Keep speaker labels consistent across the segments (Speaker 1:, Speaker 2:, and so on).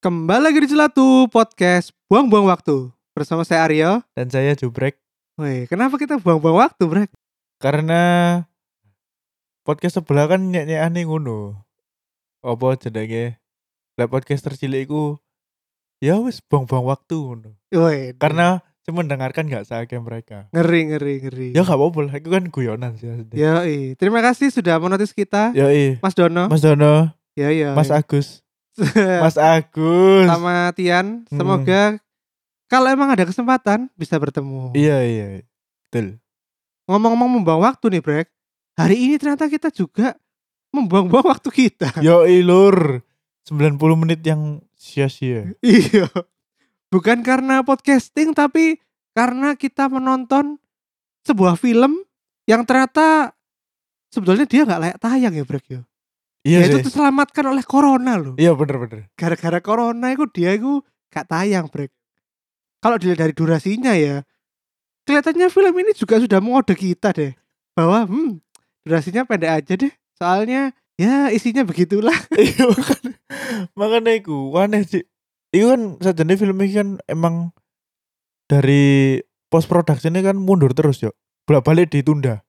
Speaker 1: Kembali lagi di Celatu Podcast Buang-buang waktu bersama saya Aryo.
Speaker 2: dan saya Jubrek
Speaker 1: Woi, kenapa kita buang-buang waktu, Brek?
Speaker 2: karena podcast sebelah kan nyek nyek aneh ngono apa jenenge lah podcast tercilik iku ya wis buang-buang waktu ngono
Speaker 1: Woi,
Speaker 2: karena cuma mendengarkan nggak seakan mereka
Speaker 1: ngeri ngeri ngeri.
Speaker 2: ya nggak apa-apa lah itu kan guyonan sih
Speaker 1: Ya.
Speaker 2: aslinya.
Speaker 1: Yoi. terima kasih sudah menotis kita,
Speaker 2: ya iya
Speaker 1: Mas Dono.
Speaker 2: Mas Dono
Speaker 1: Ya ya.
Speaker 2: Mas Agus Mas Hmm. Agus
Speaker 1: sama Tian. Semoga kalau emang ada kesempatan bisa bertemu.
Speaker 2: iya iya iya. betul
Speaker 1: Ngomong-ngomong membuang waktu nih, Brek. Hari ini ternyata kita juga membuang-buang waktu kita.
Speaker 2: yo ilur 90 menit yang sia-sia
Speaker 1: Iya. Bukan karena podcasting tapi karena kita menonton sebuah film yang ternyata sebetulnya dia nggak layak tayang ya Brek ya.
Speaker 2: iya
Speaker 1: Dia itu
Speaker 2: sih
Speaker 1: terselamatkan oleh corona loh.
Speaker 2: iya bener-bener
Speaker 1: Gara-gara corona itu dia itu gak tayang Brek. Kalau dilihat dari durasinya ya, kelihatannya film ini juga sudah mengode kita deh. Bahwa hmm, durasinya pendek aja deh. Soalnya ya isinya begitulah.
Speaker 2: Iya makanya makanya iku aneh sih. Iku kan sajane film ini kan emang dari post productionnya kan mundur terus yo. Bolak balik ditunda.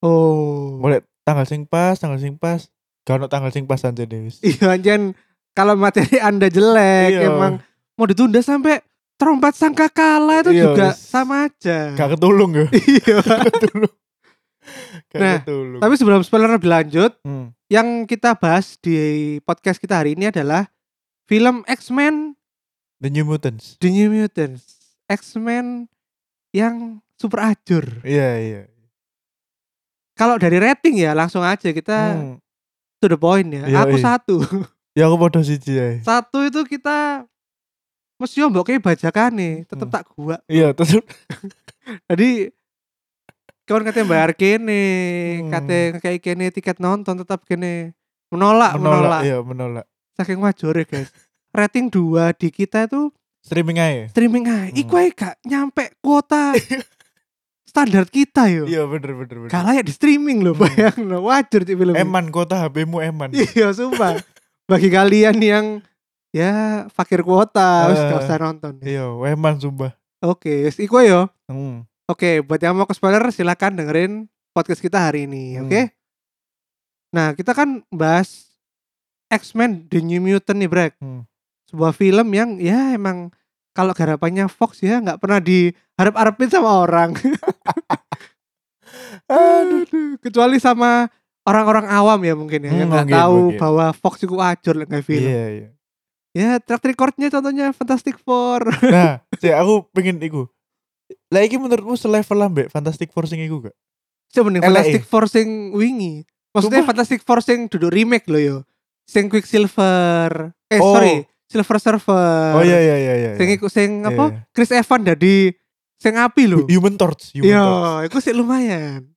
Speaker 1: Oh.
Speaker 2: Mulai tanggal sing pas, tanggal sing pas. Gak ono tanggal sing pas aja wis.
Speaker 1: Iya anjen kalau materi anda jelek
Speaker 2: Iya.
Speaker 1: emang mau ditunda sampai terompat sangka kalah itu
Speaker 2: Iya,
Speaker 1: juga
Speaker 2: wis.
Speaker 1: sama aja.
Speaker 2: Gak ketulung yo.
Speaker 1: Iya.
Speaker 2: ketulung. Gak
Speaker 1: Nah,
Speaker 2: ketulung.
Speaker 1: Tapi sebelum spoiler lebih lanjut,
Speaker 2: Hmm.
Speaker 1: yang kita bahas di podcast kita hari ini adalah film X-Men
Speaker 2: The New Mutants.
Speaker 1: The New Mutants. X-Men yang super ajur.
Speaker 2: Iya iya.
Speaker 1: Kalau dari rating ya langsung aja kita
Speaker 2: Hmm.
Speaker 1: to the point ya.
Speaker 2: Iya,
Speaker 1: Aku
Speaker 2: iya.
Speaker 1: satu.
Speaker 2: Ya aku podo siji ae.
Speaker 1: satu itu kita mesti mbok kayak bajakan nih, tetep
Speaker 2: Hmm.
Speaker 1: tak gua
Speaker 2: Iya terus.
Speaker 1: Jadi kawan katanya bayar kene,
Speaker 2: Hmm.
Speaker 1: katanya kayak kene tiket nonton tetap kene menolak menolak,
Speaker 2: Iya menolak.
Speaker 1: saking wajore guys. Rating 2 di kita itu
Speaker 2: Streaming aja.
Speaker 1: streaming aja.
Speaker 2: Hmm.
Speaker 1: Iku ae gak nyampe kuota standar kita yo.
Speaker 2: Iya bener bener bener.
Speaker 1: Gak layak di streaming loh
Speaker 2: Hmm.
Speaker 1: bayang wajar di film. ini.
Speaker 2: Eman kota HPmu Eman.
Speaker 1: Iya sumpah. Bagi kalian yang ya fakir kuota, wis gak
Speaker 2: Eh.
Speaker 1: usah nonton.
Speaker 2: Iya, Eman sumpah.
Speaker 1: Oke, wis iku ae yo.
Speaker 2: Hmm.
Speaker 1: Oke, buat yang mau ke spoiler silahkan dengerin podcast kita hari ini,
Speaker 2: Hmm.
Speaker 1: oke? Nah, kita kan bahas X-Men The New Mutant nih, Brek.
Speaker 2: Hmm.
Speaker 1: Sebuah film yang ya emang kalau garapannya Fox ya nggak pernah diharap-harapin sama orang. Aduh, kecuali sama orang-orang awam ya mungkin ya yang
Speaker 2: Hmm,
Speaker 1: nggak
Speaker 2: mungkin,
Speaker 1: tahu
Speaker 2: mungkin.
Speaker 1: bahwa Fox itu acur lah nggak film.
Speaker 2: Iya, iya.
Speaker 1: Ya, track recordnya contohnya Fantastic Four.
Speaker 2: Nah, sih aku pengen iku. Lah iki menurutmu selevel lah mbek Fantastic Four sing iku gak?
Speaker 1: Coba mending
Speaker 2: LA.
Speaker 1: Fantastic Four sing wingi. Maksudnya
Speaker 2: Sumpah.
Speaker 1: Fantastic Four sing duduk remake loh yo. Sing Quicksilver. Eh
Speaker 2: Oh.
Speaker 1: sorry, Silver Surfer.
Speaker 2: Oh iya iya iya iya.
Speaker 1: Eh, Sing iku sing
Speaker 2: Iya,
Speaker 1: apa?
Speaker 2: iya.
Speaker 1: Chris Evans dari sing api lho.
Speaker 2: Human Torch, Human Torch.
Speaker 1: Yo, iku sih lumayan.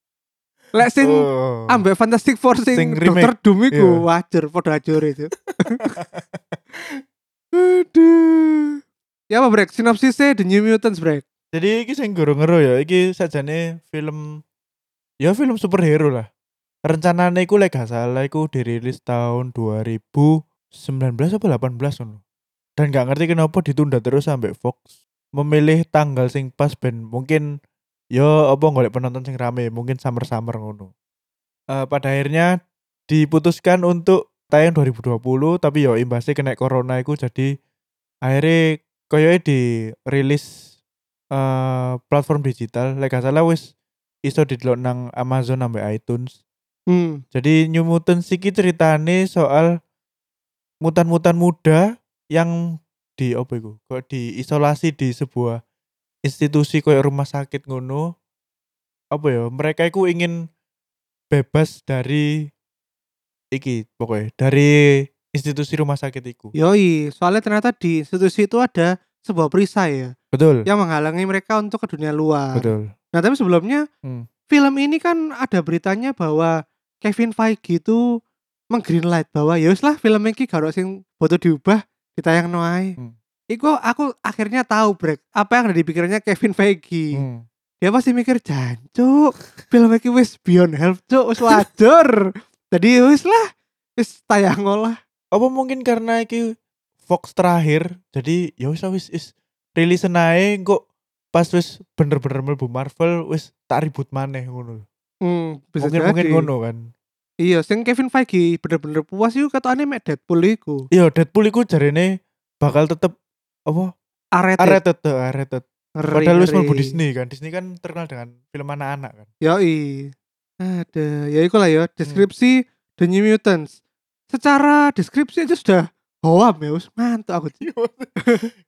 Speaker 1: Lek Iya. sing
Speaker 2: Oh.
Speaker 1: ambek Fantastic Four sing,
Speaker 2: Sing
Speaker 1: Dr.
Speaker 2: remake.
Speaker 1: Doom iku
Speaker 2: Iya.
Speaker 1: wajar padha ajur itu. Aduh. Ya apa Brek? Sinopsisnya The New Mutants Brek.
Speaker 2: Jadi iki sing guru ngero ya, iki sajane film ya film superhero lah. Rencananya iku lek gak salah iku dirilis tahun 2019 apa 18 ngono. Dan gak ngerti kenapa ditunda terus sampai Fox memilih tanggal sing pas ben mungkin ya apa golek penonton sing rame, mungkin summer-summer ngono. Eh, pada akhirnya diputuskan untuk tayang 2020 tapi ya imbasnya kena corona iku jadi akhirnya koyoke dirilis eh platform digital lek gak salah wis iso didelok nang Amazon sampai iTunes.
Speaker 1: Hmm.
Speaker 2: Jadi New Mutants iki ceritane soal mutan-mutan muda yang di apa iku? Kok diisolasi di sebuah institusi koyo rumah sakit ngono. Apa ya? Mereka iku ingin bebas dari iki pokoknya dari institusi rumah sakit iku.
Speaker 1: Iya. Yoi, soalnya ternyata di institusi itu ada sebuah perisai ya.
Speaker 2: Betul.
Speaker 1: yang menghalangi mereka untuk ke dunia luar.
Speaker 2: Betul.
Speaker 1: Nah tapi sebelumnya
Speaker 2: Hmm.
Speaker 1: film ini kan ada beritanya bahwa Kevin Feige itu menggreenlight bahwa ya wis lah film ini gak ada sing butuh diubah ditayang noai.
Speaker 2: Hmm.
Speaker 1: Iku aku akhirnya tahu brek apa yang ada di pikirannya Kevin Feige.
Speaker 2: Hmm.
Speaker 1: Dia pasti mikir jancuk film ini wis beyond help cuk wis wajar. Tadi wis lah wis tayang olah.
Speaker 2: apa mungkin karena iki Fox terakhir jadi ya wis lah, wis is rilis nae kok pas wis bener-bener mlebu Marvel wis tak ribut maneh ngono lho.
Speaker 1: Hmm, bisa
Speaker 2: mungkin
Speaker 1: jadi.
Speaker 2: mungkin ngono kan
Speaker 1: Iya, sing Kevin Feige bener-bener puas yuk katanya mek Deadpool iku.
Speaker 2: iya Deadpool iku jarene bakal tetep apa
Speaker 1: Arete.
Speaker 2: rated eh, rated
Speaker 1: Ngeri,
Speaker 2: padahal wis mlebu
Speaker 1: ngeri.
Speaker 2: Disney kan Disney kan terkenal dengan film anak-anak kan
Speaker 1: Yoi. Ada, ya iku lah ya
Speaker 2: Hmm.
Speaker 1: deskripsi The New Mutants. Secara deskripsi itu sudah hoam ya, wis mantuk aku.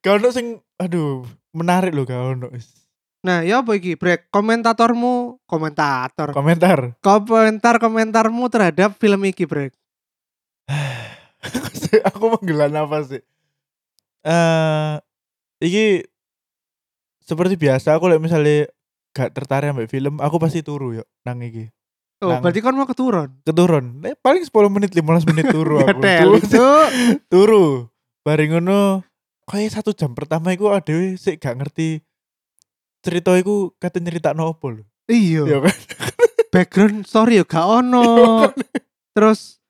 Speaker 2: gak ono sing aduh menarik loh gak ono wis.
Speaker 1: Nah, ya apa iki? Brek komentatormu, komentator.
Speaker 2: komentar
Speaker 1: Komentar-komentarmu terhadap film iki, Brek.
Speaker 2: aku menggela nafas sih. Eh, iki seperti biasa aku lek misalnya gak tertarik ambek film, aku pasti turu yo nang iki.
Speaker 1: Oh,
Speaker 2: Nang.
Speaker 1: berarti kan mau keturun.
Speaker 2: Keturun. Eh, paling 10 menit, 15 menit turu aku.
Speaker 1: Gatel,
Speaker 2: turu,
Speaker 1: Cuk.
Speaker 2: turu. Bareng ngono kayak satu jam pertama iku adewe sik gak ngerti cerita iku kate nyeritakno opo lho.
Speaker 1: Iya,
Speaker 2: Yo kan.
Speaker 1: background story yo gak
Speaker 2: Iya,
Speaker 1: ono. Terus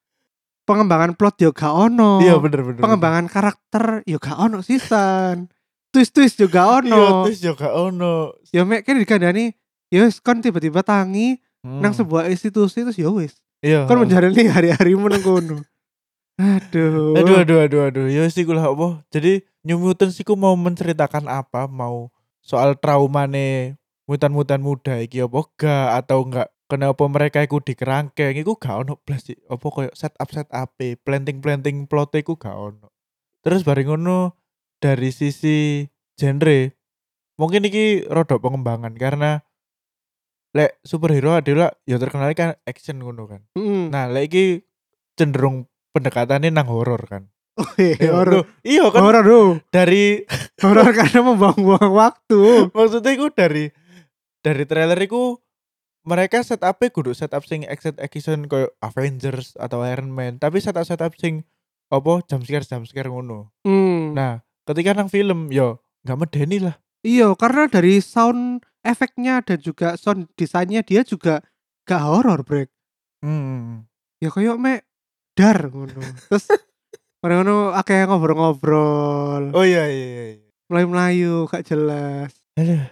Speaker 1: pengembangan plot yo gak ono.
Speaker 2: Iya bener bener.
Speaker 1: pengembangan karakter yo gak ono sisan. Twist-twist juga
Speaker 2: Iya,
Speaker 1: ono.
Speaker 2: terus yo gak ono.
Speaker 1: ya mek kan digandani ya wis kon tiba-tiba tangi
Speaker 2: Hmm.
Speaker 1: nang sebuah institusi terus ya wis
Speaker 2: Iya.
Speaker 1: kon menjalani hari-harimu nang kono aduh
Speaker 2: Aduh aduh aduh aduh. Ya sih lah apa? Jadi New Mutants iku mau menceritakan apa? Mau soal traumane mutan-mutan muda iki apa gak atau enggak kenapa mereka iku dikerangkeng iku gak ono blas sih. Apa koyo setup set up planting-planting plot iku gak ono. Terus bareng ngono dari sisi genre mungkin iki rodok pengembangan karena lek superhero adalah ya terkenal kan action ngono kan.
Speaker 1: Mm.
Speaker 2: Nah, lek iki cenderung pendekatannya nang horor kan.
Speaker 1: Oh, iya,
Speaker 2: Iya,
Speaker 1: horor
Speaker 2: loh, Iya kan
Speaker 1: horor loh
Speaker 2: dari
Speaker 1: horor karena membuang-buang waktu
Speaker 2: maksudnya iku dari dari trailer iku mereka setup kudu setup sing action action koyo Avengers atau Iron Man, tapi setup setup sing apa jam scare jam scare ngono.
Speaker 1: Mm.
Speaker 2: Nah, ketika nang film yo nggak medeni lah.
Speaker 1: iya karena dari sound efeknya dan juga sound desainnya dia juga gak horor brek
Speaker 2: Hmm.
Speaker 1: ya kayak mek dar ngono terus Orang ngono akeh ngobrol-ngobrol,
Speaker 2: Oh iya iya iya. iya.
Speaker 1: melayu-melayu, gak jelas.
Speaker 2: Aduh.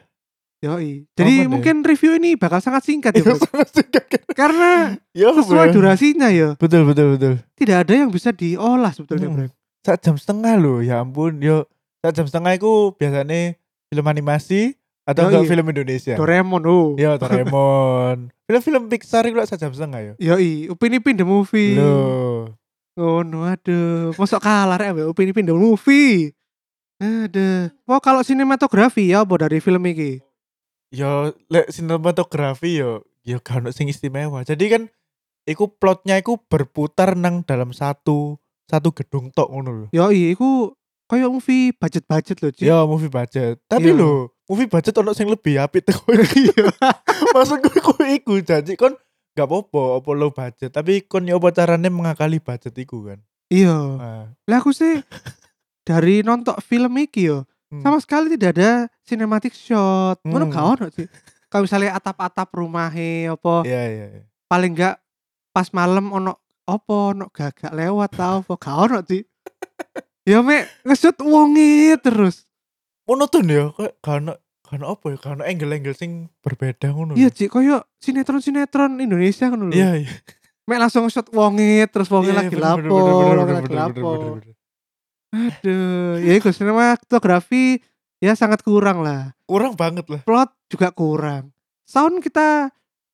Speaker 1: Yoi. Jadi
Speaker 2: Aman ya.
Speaker 1: mungkin review ini bakal sangat singkat ya,
Speaker 2: Iya,
Speaker 1: Bro.
Speaker 2: sangat singkat kan.
Speaker 1: Karena
Speaker 2: Yo,
Speaker 1: sesuai
Speaker 2: bro.
Speaker 1: durasinya ya,
Speaker 2: Betul betul betul.
Speaker 1: tidak ada yang bisa diolah sebetulnya,
Speaker 2: Hmm.
Speaker 1: Bro.
Speaker 2: Sak jam setengah loh, ya ampun. Yo, sak jam setengah iku biasanya film animasi
Speaker 1: Yo,
Speaker 2: atau enggak
Speaker 1: iya.
Speaker 2: film Indonesia.
Speaker 1: Doraemon, oh.
Speaker 2: Yo Iya, Doraemon. Film-film Pixar itu sak jam setengah ya? yo.
Speaker 1: Yoi, Upin Ipin the movie.
Speaker 2: Loh.
Speaker 1: Oh, no, aduh. Mosok kalah rek ambek Upin Ipin the movie. Ada. Oh, kalau sinematografi ya apa dari film ini?
Speaker 2: Yo ya lek sinematografi yo yo gak ono sing istimewa. Jadi kan iku plotnya iku berputar nang dalam satu satu gedung tok ngono lho.
Speaker 1: Yoi, iku koyo movie budget-budget loh, Ci.
Speaker 2: Yo movie budget. Tapi
Speaker 1: Yo.
Speaker 2: lho, movie budget ono sing lebih apik teko iki. Maksudku iku iku janji kon gak apa-apa apa low budget, tapi kon yo apa carane mengakali budget iku kan.
Speaker 1: Iya.
Speaker 2: Nah,
Speaker 1: Lah aku sih dari nonton film iki yo,
Speaker 2: hmm.
Speaker 1: sama sekali tidak ada cinematic shot ngono
Speaker 2: Hmm.
Speaker 1: gak ono sih kalau misalnya atap-atap rumahnya apa
Speaker 2: Iya iya. iya.
Speaker 1: paling gak pas malam ono apa ono gagak lewat tau apa gak ono sih ya mek ngesut wonge terus
Speaker 2: Monoton ya, kayak gak ono gak ono apa ya, gak ono angle-angle sing berbeda ngono.
Speaker 1: iya cik koyo sinetron-sinetron Indonesia kan lho
Speaker 2: Hmm. Iya, iya.
Speaker 1: mek langsung ngesut wonge terus wonge
Speaker 2: Iya,
Speaker 1: lagi
Speaker 2: bener,
Speaker 1: lapo
Speaker 2: bener, bener, bener,
Speaker 1: wonge
Speaker 2: bener,
Speaker 1: lagi
Speaker 2: bener,
Speaker 1: lapo
Speaker 2: bener, bener, bener.
Speaker 1: aduh ya iku sinematografi ya sangat kurang lah
Speaker 2: Kurang banget lah.
Speaker 1: plot juga kurang sound kita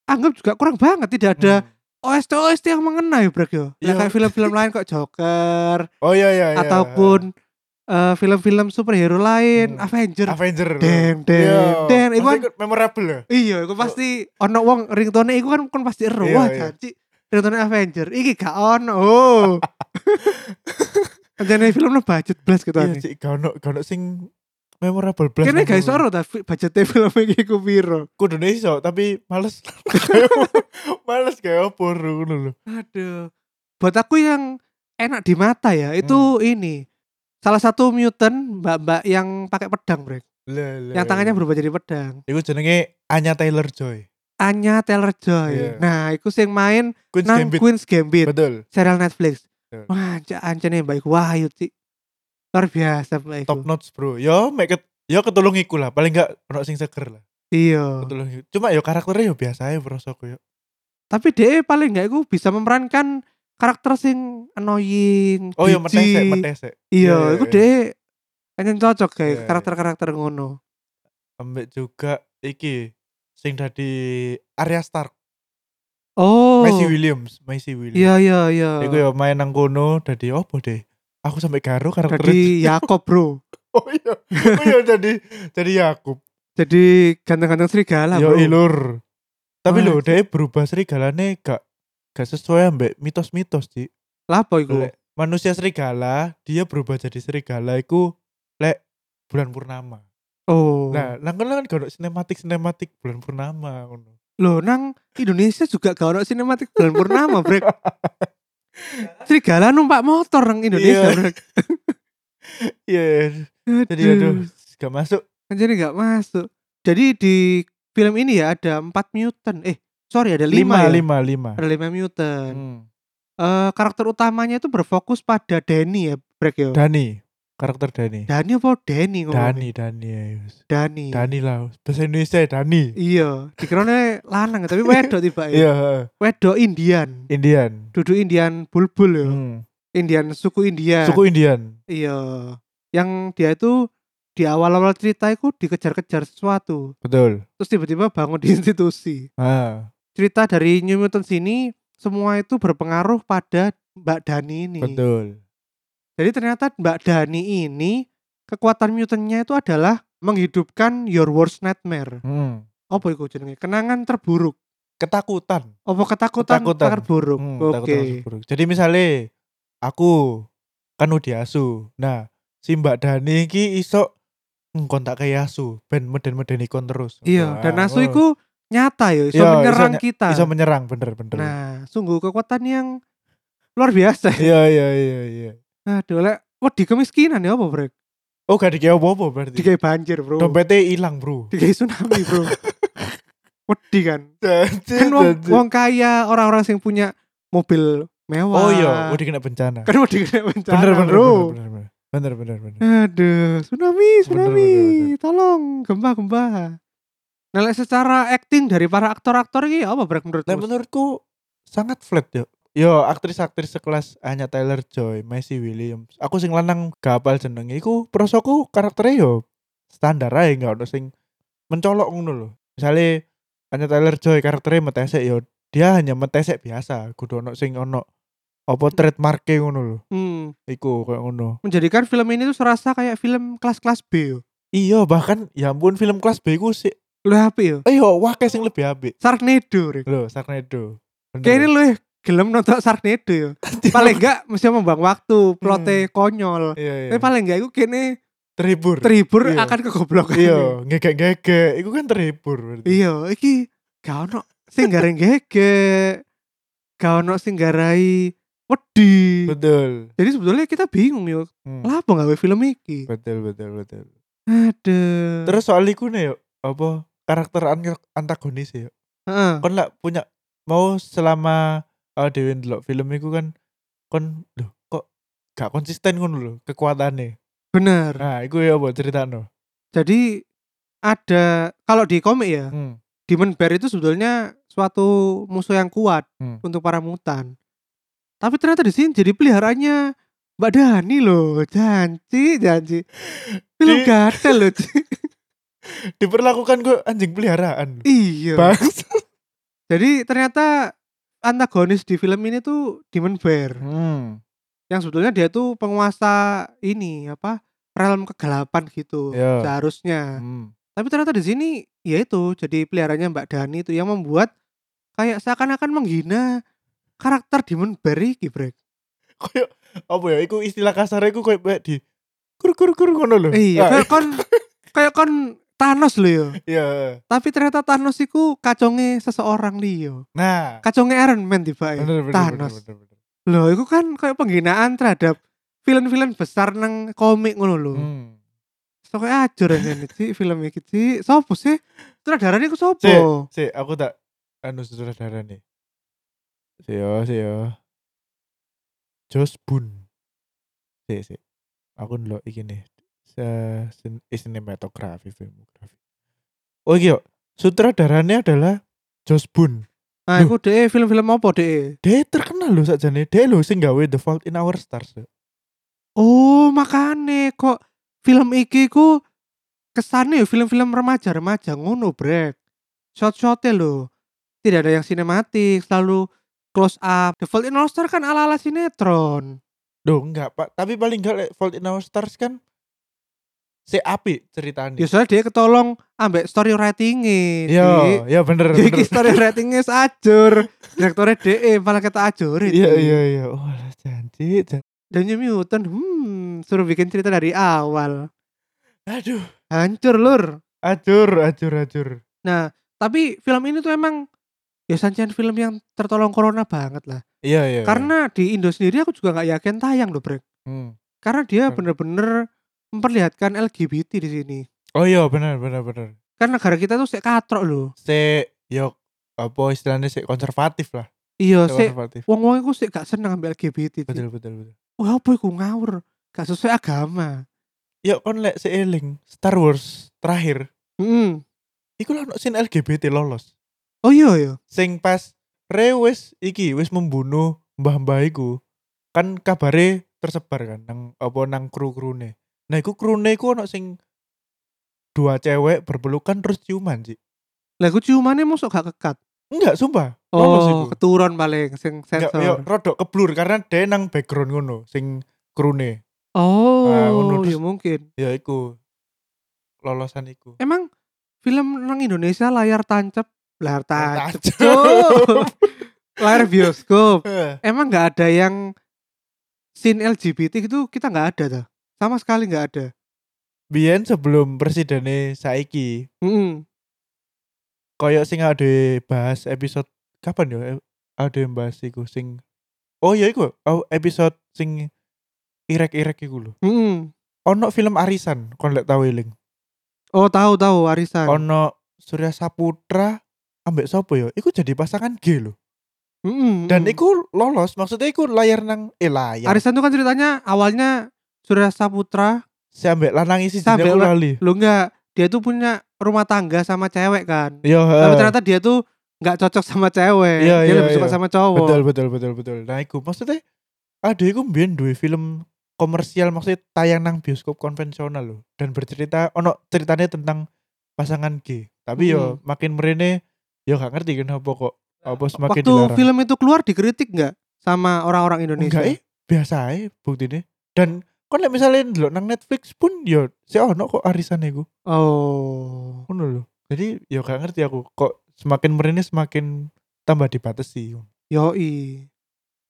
Speaker 1: anggap juga kurang banget tidak ada
Speaker 2: Hmm.
Speaker 1: OST OST yang mengena ya Brek ya. Lah
Speaker 2: Iya.
Speaker 1: kayak film-film lain kok Joker
Speaker 2: Oh iya iya iya.
Speaker 1: ataupun eh, film-film superhero lain
Speaker 2: Hmm.
Speaker 1: Avenger.
Speaker 2: Avenger.
Speaker 1: Deng
Speaker 2: Iya.
Speaker 1: deng deng iku kan
Speaker 2: Maksudnya memorable ya.
Speaker 1: iya iku pasti ono wong ringtone iku kan kan pasti ero
Speaker 2: Iya,
Speaker 1: wah
Speaker 2: iya.
Speaker 1: janji ringtone Avenger iki gak ono. Oh. Anjane film lo budget blas gitu
Speaker 2: Iya,
Speaker 1: nih.
Speaker 2: Cik, gak ono gak ono sing memorable blast.
Speaker 1: Kene guys ora ta fi- budgete film iki ku piro.
Speaker 2: kudune iso tapi males. males kayak opo ngono lho.
Speaker 1: Aduh. Buat aku yang enak di mata ya, itu
Speaker 2: Hmm.
Speaker 1: ini. Salah satu mutant mbak-mbak yang pakai pedang, Brek.
Speaker 2: Lah, lah.
Speaker 1: Yang tangannya berubah jadi pedang.
Speaker 2: iku jenenge Anya Taylor Joy.
Speaker 1: Anya
Speaker 2: Iya.
Speaker 1: Taylor-Joy. Nah, iku sing main
Speaker 2: Queen's
Speaker 1: nang
Speaker 2: Gambit. Ya.
Speaker 1: Queen's Gambit.
Speaker 2: Betul.
Speaker 1: serial Netflix.
Speaker 2: Betul.
Speaker 1: Wah, ancen ya, mbak iku wahyu sih. Luar biasa mbak iku.
Speaker 2: Top notch, Bro. Ya, Yo make it Yo ketulung iku lah, paling enggak ono sing seger lah.
Speaker 1: Iya.
Speaker 2: Ketulung iku. Cuma yo karakternya yo biasa ae prosoku ya. yo.
Speaker 1: Tapi dia paling nggak iku bisa memerankan karakter sing annoying,
Speaker 2: Oh yo
Speaker 1: jijik.
Speaker 2: metesek, metesek.
Speaker 1: Iya,
Speaker 2: Iya,
Speaker 1: iku
Speaker 2: iya.
Speaker 1: dia ancen cocok kayak
Speaker 2: Iya,
Speaker 1: karakter-karakter ngono.
Speaker 2: Ambek juga iki sing dari Arya Stark,
Speaker 1: Oh.
Speaker 2: Maisie Williams, Maisie Williams.
Speaker 1: Iya, iya, iya.
Speaker 2: Iku ya, yo main nang kono dadi opo deh. Aku sampai garu karakternya.
Speaker 1: Jadi Yakob, Bro.
Speaker 2: Oh iya. Oh iya jadi jadi Yakub.
Speaker 1: Jadi ganteng-ganteng serigala,
Speaker 2: Yo
Speaker 1: Bro. Oh,
Speaker 2: ilur. Tapi
Speaker 1: Wah,
Speaker 2: lho dia berubah serigalane gak gak sesuai ambek mitos-mitos sih.
Speaker 1: Lapo iku?
Speaker 2: Lek manusia serigala, dia berubah jadi serigala iku lek bulan purnama.
Speaker 1: Oh.
Speaker 2: Nah, nang kono kan gak ono sinematik-sinematik bulan purnama ngono.
Speaker 1: Loh nang Indonesia juga gak ada sinematik bulan purnama brek Serigala numpak motor nang Indonesia
Speaker 2: Iya.
Speaker 1: brek
Speaker 2: Iya, jadi aduh, gak masuk.
Speaker 1: Kan jadi gak masuk Jadi di film ini ya ada 4 mutant Eh sorry ada 5
Speaker 2: Lima,
Speaker 1: ya
Speaker 2: lima, lima.
Speaker 1: Ada 5 mutant
Speaker 2: Hmm.
Speaker 1: Eh, Karakter utamanya itu berfokus pada Danny ya brek ya
Speaker 2: Dani, karakter Dani.
Speaker 1: Danny apa Danny ngomongnya?
Speaker 2: Dani, Dani ya. wis.
Speaker 1: Dani
Speaker 2: Dani lah, wis. bahasa Indonesia ya, Dani.
Speaker 1: Iya Dikiranya lanang tapi wedok tiba ya
Speaker 2: Iya, heeh.
Speaker 1: Wedok Indian
Speaker 2: Indian.
Speaker 1: Duduk Indian bulbul ya
Speaker 2: Hmm.
Speaker 1: Indian suku Indian
Speaker 2: Suku Indian.
Speaker 1: Iya. Yang dia itu di awal-awal cerita itu dikejar-kejar sesuatu.
Speaker 2: Betul.
Speaker 1: Terus tiba-tiba bangun di institusi.
Speaker 2: Ah,
Speaker 1: Cerita dari New Mutants ini semua itu berpengaruh pada Mbak Dani
Speaker 2: Iya.
Speaker 1: ini.
Speaker 2: betul.
Speaker 1: Jadi ternyata Mbak Dani ini kekuatan mutantnya itu adalah menghidupkan your worst nightmare.
Speaker 2: Hmm.
Speaker 1: Apa itu jenenge? Kenangan terburuk.
Speaker 2: Ketakutan.
Speaker 1: Apa ketakutan,
Speaker 2: Ketakutan.
Speaker 1: terburuk?
Speaker 2: Hmm,
Speaker 1: Oke.
Speaker 2: takut termasuk buruk. Jadi misalnya aku kan udah asu. Nah, si Mbak Dani iki iso ngkontak kayak asu ben meden-medeni kon terus.
Speaker 1: Iya, dan
Speaker 2: Wah,
Speaker 1: asu
Speaker 2: wah.
Speaker 1: itu nyata ya, iso
Speaker 2: Iya, iso
Speaker 1: menyerang
Speaker 2: ny-
Speaker 1: kita.
Speaker 2: iso menyerang bener-bener.
Speaker 1: Nah, sungguh kekuatan yang luar biasa.
Speaker 2: Iya iya iya iya.
Speaker 1: Aduh, lek wedi kemiskinan ya apa, Bro?
Speaker 2: Oh, gak dikei apa-apa berarti.
Speaker 1: Dikai banjir, Bro.
Speaker 2: Dompetnya hilang, Bro.
Speaker 1: Dikai tsunami, Bro. wedi kan.
Speaker 2: Janji,
Speaker 1: Kan wong,
Speaker 2: janji.
Speaker 1: wong kaya orang-orang yang punya mobil mewah.
Speaker 2: Oh iya, udah kena bencana.
Speaker 1: Kan wedi kena bencana,
Speaker 2: Bener bener
Speaker 1: Bro.
Speaker 2: bener bener. Bener bener bener.
Speaker 1: Aduh, tsunami, tsunami.
Speaker 2: bener,
Speaker 1: Tolong, gempa-gempa. Nah, lek secara acting dari para aktor-aktor ini apa, Bro,
Speaker 2: Nah,
Speaker 1: menurutmu?
Speaker 2: menurutku sangat flat ya. Yo, aktris-aktris sekelas Anya Taylor Joy, Maisie Williams. Aku sing lanang gak apal jenenge iku prosoku karakternya yo standar ae gak ono sing mencolok ngono lho. Misale Anya Taylor Joy karakternya metesek yo dia hanya metesek biasa, kudu ono sing ono apa trademark ngono lho.
Speaker 1: Hmm,
Speaker 2: Iku kayak ngono.
Speaker 1: menjadikan film ini tuh serasa kayak film kelas-kelas B. yo.
Speaker 2: Iya, bahkan ya ampun film kelas B ku sih.
Speaker 1: Lu HP yo.
Speaker 2: Ayo, wake sing lebih apik.
Speaker 1: Sharknado, Bro.
Speaker 2: Lho, Sharknado. Bener.
Speaker 1: Kayaknya lu ya gelem nonton Sharknado ya. Paling enggak mesti membuang waktu, plotnya konyol.
Speaker 2: iya, iya.
Speaker 1: Tapi paling enggak itu kayaknya
Speaker 2: terhibur.
Speaker 1: terhibur
Speaker 2: Iya.
Speaker 1: akan kegoblokan.
Speaker 2: Iya, ngegek-ngegek, itu kan terhibur berarti.
Speaker 1: Iya, iki gak ono sing gareng gege. Gak ono sing garai wedi.
Speaker 2: Betul.
Speaker 1: Jadi sebetulnya kita bingung yo.
Speaker 2: Hmm.
Speaker 1: Lah apa gawe film iki?
Speaker 2: Betul, betul, betul.
Speaker 1: Aduh.
Speaker 2: Terus soal iku nih yuk, apa karakter an- antagonis ya. yuk.
Speaker 1: Heeh.
Speaker 2: Kon lah punya mau selama uh, dewe ndelok film iku kan kon lho kok gak konsisten ngono lho kekuatannya.
Speaker 1: bener.
Speaker 2: Nah, iku ya apa ceritano.
Speaker 1: Jadi ada kalau di komik ya,
Speaker 2: Hmm.
Speaker 1: Demon Bear itu sebetulnya suatu musuh yang kuat
Speaker 2: Hmm.
Speaker 1: untuk para mutan. Tapi ternyata di sini jadi peliharaannya Mbak Dani loh, janji, janji. Film
Speaker 2: Di-
Speaker 1: gatel loh. Ci.
Speaker 2: Diperlakukan gue anjing peliharaan.
Speaker 1: iya.
Speaker 2: Bangsa.
Speaker 1: jadi ternyata antagonis di film ini tuh Demon Bear
Speaker 2: Hmm.
Speaker 1: yang sebetulnya dia tuh penguasa ini apa realm kegelapan gitu
Speaker 2: Iya.
Speaker 1: seharusnya.
Speaker 2: Hmm.
Speaker 1: Tapi ternyata di sini ya itu jadi peliharanya Mbak Dani itu yang membuat kayak seakan-akan menghina karakter Demon Bear iki, Brek.
Speaker 2: Koyo apa ya iku istilah kasar iku koyo kayak di kur kur kur ngono lho.
Speaker 1: Iya,
Speaker 2: Ah,
Speaker 1: kan kon kayak kon Thanos lho ya.
Speaker 2: Iya.
Speaker 1: Tapi ternyata Thanos iku kaconge seseorang liyo.
Speaker 2: Nah,
Speaker 1: Kaconge Iron Man tiba
Speaker 2: bener, bener,
Speaker 1: Eh, Thanos.
Speaker 2: bener, bener, bener.
Speaker 1: Loh, itu kan kayak penghinaan terhadap film-film besar nang komik ngono lho.
Speaker 2: Hmm.
Speaker 1: Sok ajur ya, ngene Ci, film iki Ci. Sopo sih? Sutradarane iku sopo?
Speaker 2: Cik. Si, aku tak anu saudara nih. Si yo, si yo. Josh Boone. Si, si. Aku ndelok iki nih. Se sin- eh, sinematografi filmografi. Oh iya, sutradaranya adalah Josh Boone.
Speaker 1: Nah, iku dhek film-film apa dhek?
Speaker 2: Dia terkenal loh sakjane. Dia loh sing gawe The Fault in Our Stars. Dek.
Speaker 1: Oh, makane kok film iki ku kesannya ya film-film remaja-remaja ngono, Brek. Shot-shotnya loh. Tidak ada yang sinematik, selalu close up. The Fault in Our Stars kan ala-ala sinetron.
Speaker 2: Duh, enggak, Pak. Tapi paling enggak like, Fault in Our Stars kan si api ceritanya.
Speaker 1: Ya soalnya dia ketolong ambek story ratingnya.
Speaker 2: Yo,
Speaker 1: Dik.
Speaker 2: ya bener.
Speaker 1: Ya
Speaker 2: bener.
Speaker 1: iki story ratingnya sajur. Direkturnya DE E, malah kita ajur.
Speaker 2: Iya, iya, iya. Oh, alah, janji, janji.
Speaker 1: Dan New Mutant, hmm, suruh bikin cerita dari awal.
Speaker 2: Aduh.
Speaker 1: Hancur, lur.
Speaker 2: Acur, acur, acur.
Speaker 1: Nah, tapi film ini tuh emang ya sancian film yang tertolong corona banget lah.
Speaker 2: Iya, iya.
Speaker 1: Karena di Indo sendiri aku juga nggak yakin tayang loh, Brek.
Speaker 2: Hmm.
Speaker 1: Karena dia
Speaker 2: Bener.
Speaker 1: bener-bener memperlihatkan LGBT di sini.
Speaker 2: Oh iya, benar, benar, benar.
Speaker 1: Kan negara kita tuh sek katrok loh.
Speaker 2: Se yo apa istilahnya sik konservatif lah.
Speaker 1: Iya,
Speaker 2: Sik
Speaker 1: sek
Speaker 2: konservatif.
Speaker 1: wong-wong iku sek gak seneng ambil LGBT.
Speaker 2: Betul, betul, betul.
Speaker 1: Wah, apa iku ngawur? Gak sesuai agama.
Speaker 2: Yo kon lek seeling Star Wars terakhir,
Speaker 1: Mm-mm.
Speaker 2: iku lah ono sin LGBT lolos.
Speaker 1: Oh iya iya.
Speaker 2: Sing pas Rey wis iki wis membunuh mbah-mbah iku. Kan kabare tersebar kan nang apa nang kru-krune. Nah, iku krune iku ono sing dua cewek berpelukan terus ciuman sih.
Speaker 1: Lah iku ciumannya mosok gak kekat.
Speaker 2: Enggak, sumpah. Lolos iku.
Speaker 1: Oh, keturun paling sing
Speaker 2: Enggak, ya
Speaker 1: sensor.
Speaker 2: rodok keblur karena dia nang background ngono sing krune. Ah,
Speaker 1: Oh,
Speaker 2: ngono, terus-
Speaker 1: ya mungkin.
Speaker 2: Ya iku. Lolosan iku.
Speaker 1: Emang film nang Indonesia layar tancap, layar tancap.
Speaker 2: Tancep.
Speaker 1: Cuk. layar bioskop.
Speaker 2: Eh,
Speaker 1: Emang nggak ada yang scene LGBT itu gitu, kita nggak ada tuh. Sama sekali nggak ada.
Speaker 2: Biyen sebelum presidennya saiki,
Speaker 1: Mm-mm.
Speaker 2: koyo sing ada bahas episode kapan ya? Eh, Ada yang bahas iku sing Oh ya iku, oh, episode sing irek-irek iku lho.
Speaker 1: Mm-mm.
Speaker 2: Ono film Arisan, kon lek tau eling.
Speaker 1: Oh tahu tahu warisan.
Speaker 2: Ono Surya Saputra ambek sopo ya? Iku jadi pasangan G lho.
Speaker 1: Mm-mm,
Speaker 2: Dan
Speaker 1: mm-mm.
Speaker 2: iku lolos, maksudnya iku layar nang eh layar.
Speaker 1: Arisan itu kan ceritanya awalnya Surya Saputra,
Speaker 2: Si ambek lanang isi
Speaker 1: Si ambek
Speaker 2: jenenge aku
Speaker 1: lan-
Speaker 2: lali.
Speaker 1: lu nggak dia tuh punya rumah tangga sama cewek kan.
Speaker 2: Yo, eh,
Speaker 1: Tapi
Speaker 2: heeh.
Speaker 1: ternyata dia tuh nggak cocok sama cewek.
Speaker 2: Iya,
Speaker 1: dia
Speaker 2: iya,
Speaker 1: lebih suka
Speaker 2: iya.
Speaker 1: sama cowok.
Speaker 2: betul betul betul betul. Nah, iku maksudnya ada iku mbiyen duwe film komersial maksudnya tayang nang bioskop konvensional loh dan bercerita ono ceritanya tentang pasangan G. Tapi
Speaker 1: Hmm.
Speaker 2: yo makin merene yo gak ngerti kenapa kok apa semakin
Speaker 1: Waktu
Speaker 2: dilarang.
Speaker 1: film itu keluar dikritik nggak sama orang-orang Indonesia?
Speaker 2: enggak eh biasa eh buktine. Dan kon lek misalnya ndelok nang Netflix pun yo si ono kok arisan iku.
Speaker 1: Oh.
Speaker 2: Ngono lho. Jadi yo gak ngerti aku kok semakin merene semakin tambah dibatasi.
Speaker 1: Yoi.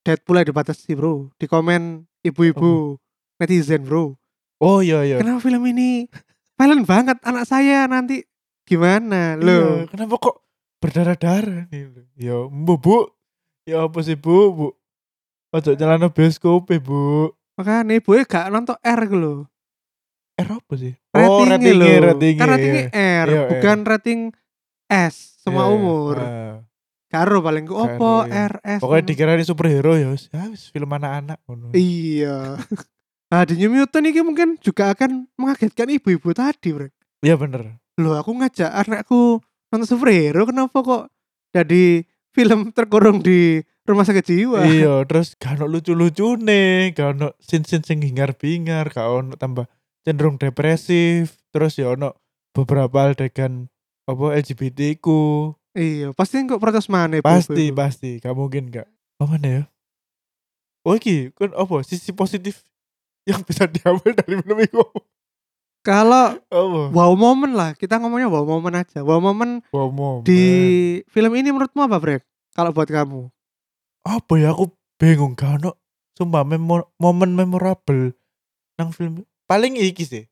Speaker 1: Deadpool aja dibatasi bro. Di komen ibu-ibu netizen bro.
Speaker 2: Oh iya Oh. iya.
Speaker 1: Kenapa film ini violent banget anak saya nanti gimana
Speaker 2: Iya,
Speaker 1: lo?
Speaker 2: kenapa kok berdarah-darah nih lho? Ya, mbu, Bu. Ya apa sih, Bu? Bu. Ojo nyelano bioskop, eh, Bu.
Speaker 1: Makanya ibu gak nonton R gitu lo.
Speaker 2: Eh, apa sih? oh,
Speaker 1: Ratingnya
Speaker 2: ratingnya,
Speaker 1: lo.
Speaker 2: ratingnya.
Speaker 1: Kan ratingnya R,
Speaker 2: Iya,
Speaker 1: bukan rating S semua
Speaker 2: Iya,
Speaker 1: umur.
Speaker 2: ah.
Speaker 1: Karo paling ku opo
Speaker 2: Karo, iya.
Speaker 1: R S.
Speaker 2: Pokoknya dikira ini superhero ya, wis. Ya, wis, film anak-anak ngono.
Speaker 1: Iya. Nah, di New Mutant ini mungkin juga akan mengagetkan ibu-ibu tadi, Bro.
Speaker 2: Iya bener.
Speaker 1: Loh, aku ngajak anakku nonton superhero, kenapa kok jadi film terkurung di rumah sakit jiwa?
Speaker 2: Iya, terus gak ono lucu-lucune, gak ono sin-sin sing hingar-bingar, gak ono tambah cenderung depresif. Terus ya ono beberapa adegan apa LGBT ku
Speaker 1: Iya, pasti kok protes mana ibu
Speaker 2: pasti pasti gak mungkin gak oh mana ya oh iki kan apa sisi positif yang bisa diambil dari film itu
Speaker 1: Kalau
Speaker 2: apa
Speaker 1: wow moment lah, kita ngomongnya wow moment aja. Wow moment
Speaker 2: wow moment.
Speaker 1: di film ini menurutmu apa, Brek? Kalau buat kamu?
Speaker 2: apa ya aku bingung gak ono sumpah memo- momen memorable nang film paling iki sih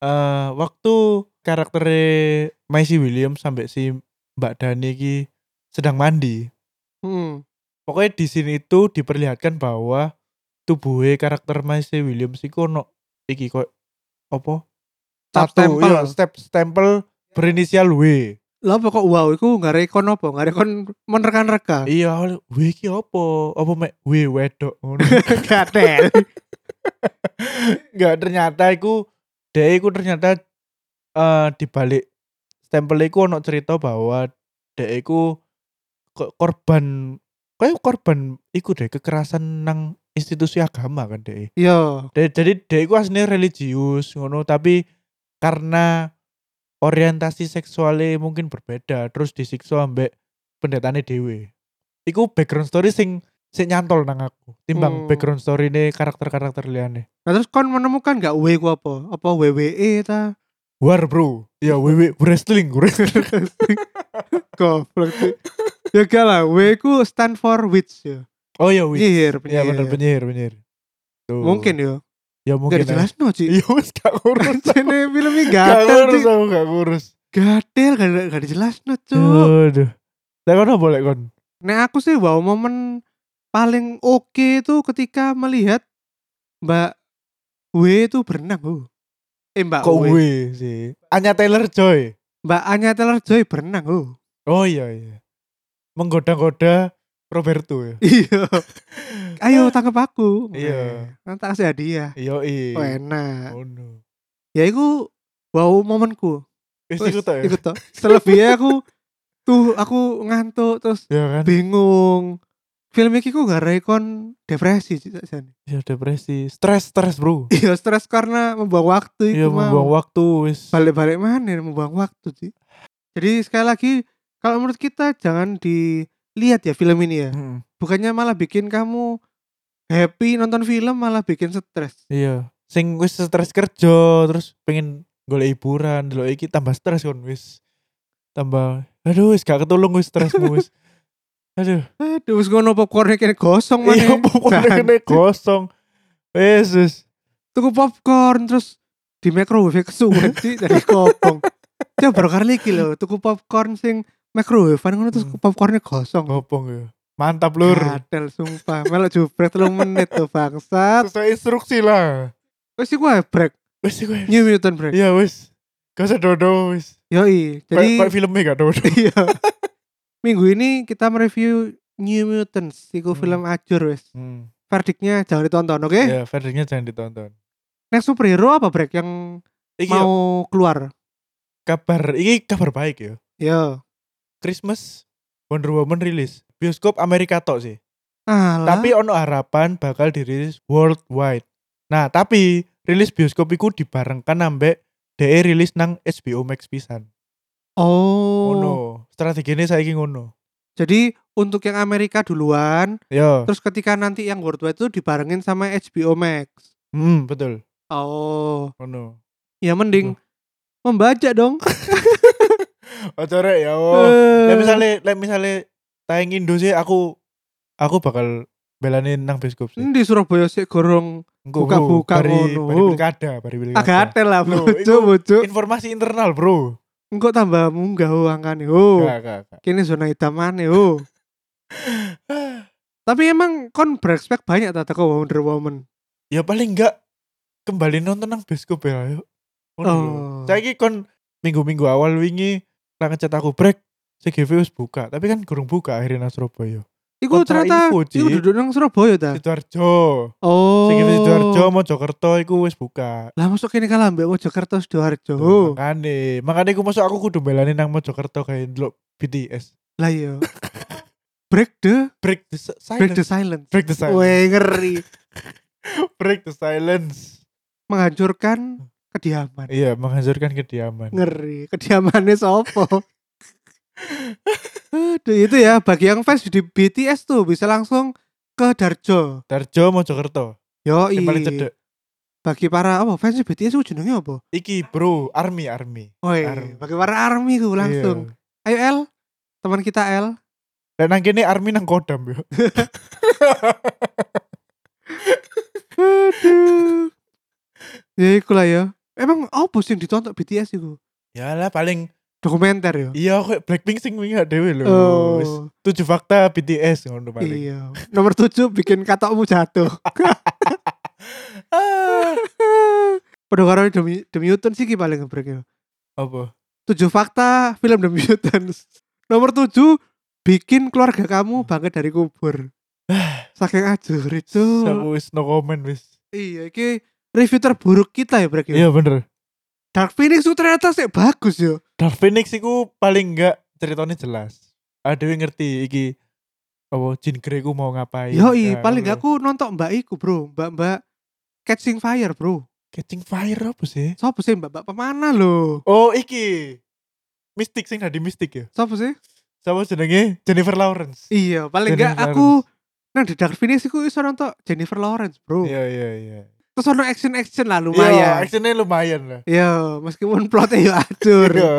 Speaker 2: eh waktu karakter Maisie Williams sampai si Mbak Dani ki sedang mandi.
Speaker 1: Hmm.
Speaker 2: Pokoknya di sini itu diperlihatkan bahwa tubuhe karakter Maisie Williams iku ono iki kok apa?
Speaker 1: Tap
Speaker 2: Tattoo,
Speaker 1: tempel.
Speaker 2: iya, step stempel berinisial W.
Speaker 1: Lah apa kok wow iku gak rekon apa? Gak rekon menerkan-reka.
Speaker 2: Iya, awalnya, W iki apa? Apa mek W wedok ngono.
Speaker 1: Gatel.
Speaker 2: Enggak ternyata iku dia iku ternyata eh dibalik stempel iku ono cerita bahwa dia iku ko- korban kayak korban iku deh kekerasan nang institusi agama kan deh.
Speaker 1: Yo,
Speaker 2: Dia- jadi dia iku aslinya religius ngono tapi karena orientasi seksualnya mungkin berbeda terus disiksa ambek pendetane dewe iku background story sing sing nyantol nang aku timbang
Speaker 1: Hmm.
Speaker 2: background story ini karakter-karakter liane
Speaker 1: Nah terus kon menemukan gak W ku apa? Apa WWE ta?
Speaker 2: War bro Ya WWE Wrestling Wrestling.
Speaker 1: Goblok sih. Ya gak lah, W ku stand for witch ya.
Speaker 2: Oh ya wih
Speaker 1: Penyihir,
Speaker 2: Ya bener
Speaker 1: penyihir.
Speaker 2: penyihir penyihir
Speaker 1: iya,
Speaker 2: Tuh.
Speaker 1: Mungkin yo.
Speaker 2: Ya mungkin
Speaker 1: Gak jelas no, Ci.
Speaker 2: Iya wis gak ngurus
Speaker 1: Jene film ini
Speaker 2: Gak
Speaker 1: gatel, Ci.
Speaker 2: ngurus aku gak ngurus
Speaker 1: Gatel, gak, gak jelas no, Cuk.
Speaker 2: Aduh Lah kan boleh kon
Speaker 1: Nah aku sih wow momen paling oke itu ketika melihat Mbak W itu berenang oh. Eh Mbak
Speaker 2: Kok
Speaker 1: W.
Speaker 2: gue sih Anya Taylor Joy
Speaker 1: Mbak Anya Taylor Joy berenang oh.
Speaker 2: Oh iya iya Menggoda-goda Roberto ya
Speaker 1: Iya. Ayo tangkap aku.
Speaker 2: Iya.
Speaker 1: Nah, Nanti tak kasih hadiah.
Speaker 2: Iya
Speaker 1: Oh,
Speaker 2: iya
Speaker 1: enak.
Speaker 2: Oh no
Speaker 1: Ya iku wow momenku.
Speaker 2: Wis
Speaker 1: Wes,
Speaker 2: iku tok ya
Speaker 1: Iku tok. Selebihnya aku tuh aku ngantuk terus
Speaker 2: Ya kan
Speaker 1: bingung. Film iki ku gak rekon depresi Cik, sakjane.
Speaker 2: Ya depresi Stres stres bro
Speaker 1: Iya stres karena membuang waktu
Speaker 2: Iya
Speaker 1: iku mau.
Speaker 2: membuang waktu wis
Speaker 1: balik-balik mana membuang waktu sih jadi sekali lagi kalau menurut kita jangan dilihat ya film ini ya
Speaker 2: Mm-mm.
Speaker 1: bukannya malah bikin kamu happy nonton film malah bikin stres
Speaker 2: Iya. Sing wis stres kerja terus pengen golek hiburan, delok iki tambah stres kon wis. Tambah aduh wis gak ketulung wis stresmu wis. Aduh.
Speaker 1: aduh wis ngono popcornnya kena gosong
Speaker 2: Iya
Speaker 1: mana
Speaker 2: pokoknya
Speaker 1: Jangan.
Speaker 2: kene kosong. Wis wis.
Speaker 1: tuku popcorn terus di microwave kesuwen sih dari kopong coba baru kali iki lho tuku popcorn sing microwave ngono terus
Speaker 2: Hmm.
Speaker 1: popcornnya gosong
Speaker 2: Ngopong ya. Mantap lur.
Speaker 1: Gadel sumpah Melok jubret telung menit tuh bangsat
Speaker 2: Sesuai instruksi lah.
Speaker 1: Wes iku ae break
Speaker 2: Wis gue.
Speaker 1: New Mutant break
Speaker 2: Iya wis. Gak usah dodo wis.
Speaker 1: Yoi Jadi
Speaker 2: Jadi kok filmnya gak dodo.
Speaker 1: Iya. Minggu ini kita mereview New Mutants, iku
Speaker 2: Hmm.
Speaker 1: film ajur wes.
Speaker 2: Hmm.
Speaker 1: Verdiknya jangan ditonton, oke?
Speaker 2: Ya, verdictnya jangan ditonton.
Speaker 1: Next superhero apa break yang
Speaker 2: Iki ya,
Speaker 1: mau keluar? Iya.
Speaker 2: kabar, iki kabar baik ya.
Speaker 1: Yo.
Speaker 2: Christmas Wonder Woman rilis. Bioskop Amerika tok sih.
Speaker 1: Alah.
Speaker 2: Tapi ono harapan bakal dirilis worldwide. Nah, tapi rilis bioskop iku dibarengkan ambek DE rilis nang HBO Max pisan.
Speaker 1: oh.
Speaker 2: Ngono. Strategine saiki ngono.
Speaker 1: Jadi untuk yang Amerika duluan,
Speaker 2: Yo.
Speaker 1: terus ketika nanti yang worldwide itu dibarengin sama HBO Max.
Speaker 2: Hmm, betul.
Speaker 1: Oh,
Speaker 2: Ngono.
Speaker 1: ya mending membaca dong.
Speaker 2: Ojo rek ya. Hmm. Oh.
Speaker 1: Eh.
Speaker 2: Lah misale, lah misale tayang Indo sih aku aku bakal belani nang bioskop sih.
Speaker 1: di Surabaya sih gorong
Speaker 2: Engko,
Speaker 1: Hmm. buka-buka
Speaker 2: bari,
Speaker 1: ngono.
Speaker 2: bari pilkada, bari pilkada.
Speaker 1: agak atel lah,
Speaker 2: Iya, Loh,
Speaker 1: bucu
Speaker 2: itu-
Speaker 1: bucu.
Speaker 2: Informasi internal, Bro.
Speaker 1: Engkau tambah munggah oh, angkane. Oh.
Speaker 2: Gak, gak, gak.
Speaker 1: kini zona hitam mana oh tapi emang kon berespek banyak tak teko Wonder Woman
Speaker 2: ya paling enggak kembali nonton nang bioskop ya ayo
Speaker 1: Oh.
Speaker 2: saya kon minggu-minggu awal wingi lah ngecat aku break CGV wis buka tapi kan kurang buka akhirnya nang Surabaya
Speaker 1: iku
Speaker 2: Kontra
Speaker 1: ternyata
Speaker 2: info, Ci.
Speaker 1: iku duduk nang Surabaya ta
Speaker 2: Sidoarjo
Speaker 1: Nah. oh
Speaker 2: CGV Sidoarjo Mojokerto iku wis buka
Speaker 1: lah masuk kini kalah mbak Mojokerto Sidoarjo
Speaker 2: Tuh, makane makane iku masuk aku kudu belani nang Mojokerto kayak ndelok BTS
Speaker 1: lah iya break the
Speaker 2: break the si-
Speaker 1: break the
Speaker 2: silence
Speaker 1: silence
Speaker 2: break the silence
Speaker 1: Weh ngeri
Speaker 2: break the silence
Speaker 1: menghancurkan kediaman
Speaker 2: iya menghancurkan
Speaker 1: Nah.
Speaker 2: kediaman
Speaker 1: ngeri kediamannya sopo Aduh, itu ya bagi yang fans di BTS tuh bisa langsung ke Darjo
Speaker 2: Darjo Mojokerto
Speaker 1: Yoi
Speaker 2: yang paling cedek
Speaker 1: bagi para apa fans BTS itu jenenge apa?
Speaker 2: iki bro army army Iya.
Speaker 1: Woi,
Speaker 2: Army.
Speaker 1: bagi para army ku langsung. Ayo El, teman kita El.
Speaker 2: Dan nang kene Army nang Kodam yo.
Speaker 1: Aduh. ya iku lah ya. Emang apa sih yang ditonton BTS itu?
Speaker 2: Ya lah paling
Speaker 1: Dokumenter ya?
Speaker 2: iya kok Blackpink sing wingi gak dhewe lho. Iya, Wis,
Speaker 1: Oh,
Speaker 2: Tujuh fakta BTS ngono paling.
Speaker 1: iya. Nomor tujuh bikin katokmu jatuh.
Speaker 2: Ah,
Speaker 1: Padahal karo demi demi Newton sih ki paling ngebrek ya.
Speaker 2: Apa?
Speaker 1: Tujuh fakta film The Mutants. Nomor tujuh bikin keluarga kamu bangkit dari kubur. Saking ajur itu.
Speaker 2: Sama wis no comment wis.
Speaker 1: Iya, iki review terburuk kita ya, Brek. ya.
Speaker 2: Iya bener.
Speaker 1: Dark Phoenix itu ternyata sih bagus ya.
Speaker 2: Dark Phoenix iku paling enggak ceritanya jelas. Ada yang ngerti iki apa Jin Grey ku mau ngapain.
Speaker 1: Yoi,
Speaker 2: Nah,
Speaker 1: iya, paling
Speaker 2: ngono.
Speaker 1: gak aku nonton Mbak Iku, Bro. Mbak-mbak Catching Fire, Bro.
Speaker 2: Catching Fire apa sih?
Speaker 1: Sopo sih Mbak-mbak pemana lho?
Speaker 2: Oh, iki. Mystic sing tadi Mystic ya.
Speaker 1: Sopo sih?
Speaker 2: Sama jenenge Jennifer Lawrence.
Speaker 1: Iya, paling gak
Speaker 2: Jennifer
Speaker 1: aku nang di Dark Phoenix iku iso nonton Jennifer Lawrence, Bro.
Speaker 2: Iya iya iya.
Speaker 1: Terus ono action-action lah
Speaker 2: Iya,
Speaker 1: lumayan.
Speaker 2: actionnya lumayan lah.
Speaker 1: Iya, meskipun plotnya yo acur.
Speaker 2: Iya.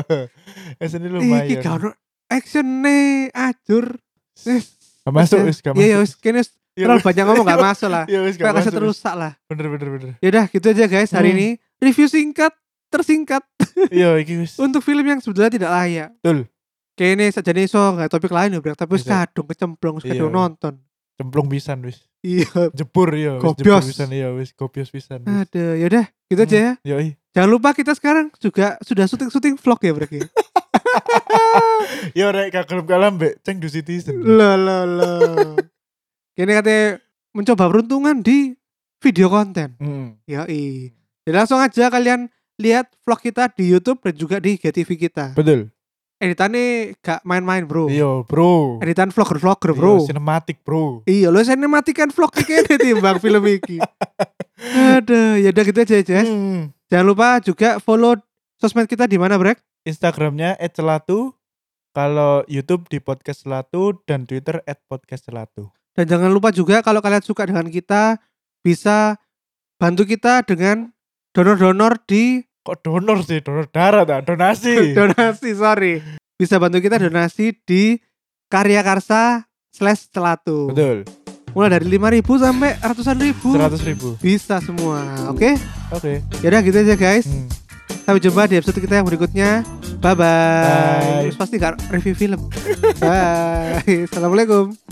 Speaker 2: Actionnya lumayan.
Speaker 1: Iki gak ono action-ne acur. Wis,
Speaker 2: Gak masuk wis gak
Speaker 1: Iya, ya
Speaker 2: masuk.
Speaker 1: wis kene wis
Speaker 2: Iya,
Speaker 1: terlalu
Speaker 2: wis.
Speaker 1: banyak ngomong gak masuk lah.
Speaker 2: Iya wis gak
Speaker 1: Kayak
Speaker 2: masuk.
Speaker 1: kasih
Speaker 2: Terus.
Speaker 1: rusak lah.
Speaker 2: Bener bener bener.
Speaker 1: Yaudah gitu aja guys hari
Speaker 2: Hmm.
Speaker 1: ini review singkat tersingkat
Speaker 2: Iya iki wis.
Speaker 1: untuk film yang sebenarnya tidak layak.
Speaker 2: Betul.
Speaker 1: Kayaknya saja nih so nggak topik lain ya Brek. tapi wis
Speaker 2: Bisa.
Speaker 1: kadung kecemplung wis
Speaker 2: Iya.
Speaker 1: kadung nonton.
Speaker 2: Cemplung pisan wis.
Speaker 1: Iya.
Speaker 2: Jebur ya wis jebur
Speaker 1: Gobios.
Speaker 2: pisan ya wis gobios pisan. wis. Iya,
Speaker 1: Ada, yaudah gitu aja ya.
Speaker 2: Yo i.
Speaker 1: Jangan lupa kita sekarang juga sudah syuting-syuting vlog ya Brek. ya.
Speaker 2: Yo Iya, rek gak gelem kalem mbek ceng du citizen.
Speaker 1: Lo lo lo. Kayaknya katanya mencoba peruntungan di video konten.
Speaker 2: Hmm.
Speaker 1: Yoi. Jadi langsung aja kalian lihat vlog kita di YouTube dan juga di GTV kita.
Speaker 2: Betul.
Speaker 1: Editannya gak main-main bro.
Speaker 2: Yo bro.
Speaker 1: Editan vlogger-vlogger bro.
Speaker 2: Yo, Sinematik bro.
Speaker 1: Iya, lo saya matikan vlog iki kene timbang film iki. Ada, ya udah gitu aja Jess.
Speaker 2: Hmm.
Speaker 1: Jangan lupa juga follow sosmed kita di mana, Brek?
Speaker 2: Instagramnya @celatu, kalau YouTube di podcast Celatu dan Twitter @podcastcelatu.
Speaker 1: Dan jangan lupa juga kalau kalian suka dengan kita bisa bantu kita dengan donor-donor di
Speaker 2: Kok donor sih, donor darah tak donasi.
Speaker 1: donasi, sorry. Bisa bantu kita donasi di Karya Karsa slash celatu.
Speaker 2: Betul.
Speaker 1: Mulai dari 5000 sampai ratusan ribu.
Speaker 2: 100 ribu.
Speaker 1: Bisa semua. Oke?
Speaker 2: Oke.
Speaker 1: Ya udah gitu aja, guys.
Speaker 2: Hmm.
Speaker 1: Sampai jumpa di episode kita yang berikutnya. Bye bye.
Speaker 2: Bye.
Speaker 1: Terus pasti gak review film. bye. Assalamualaikum.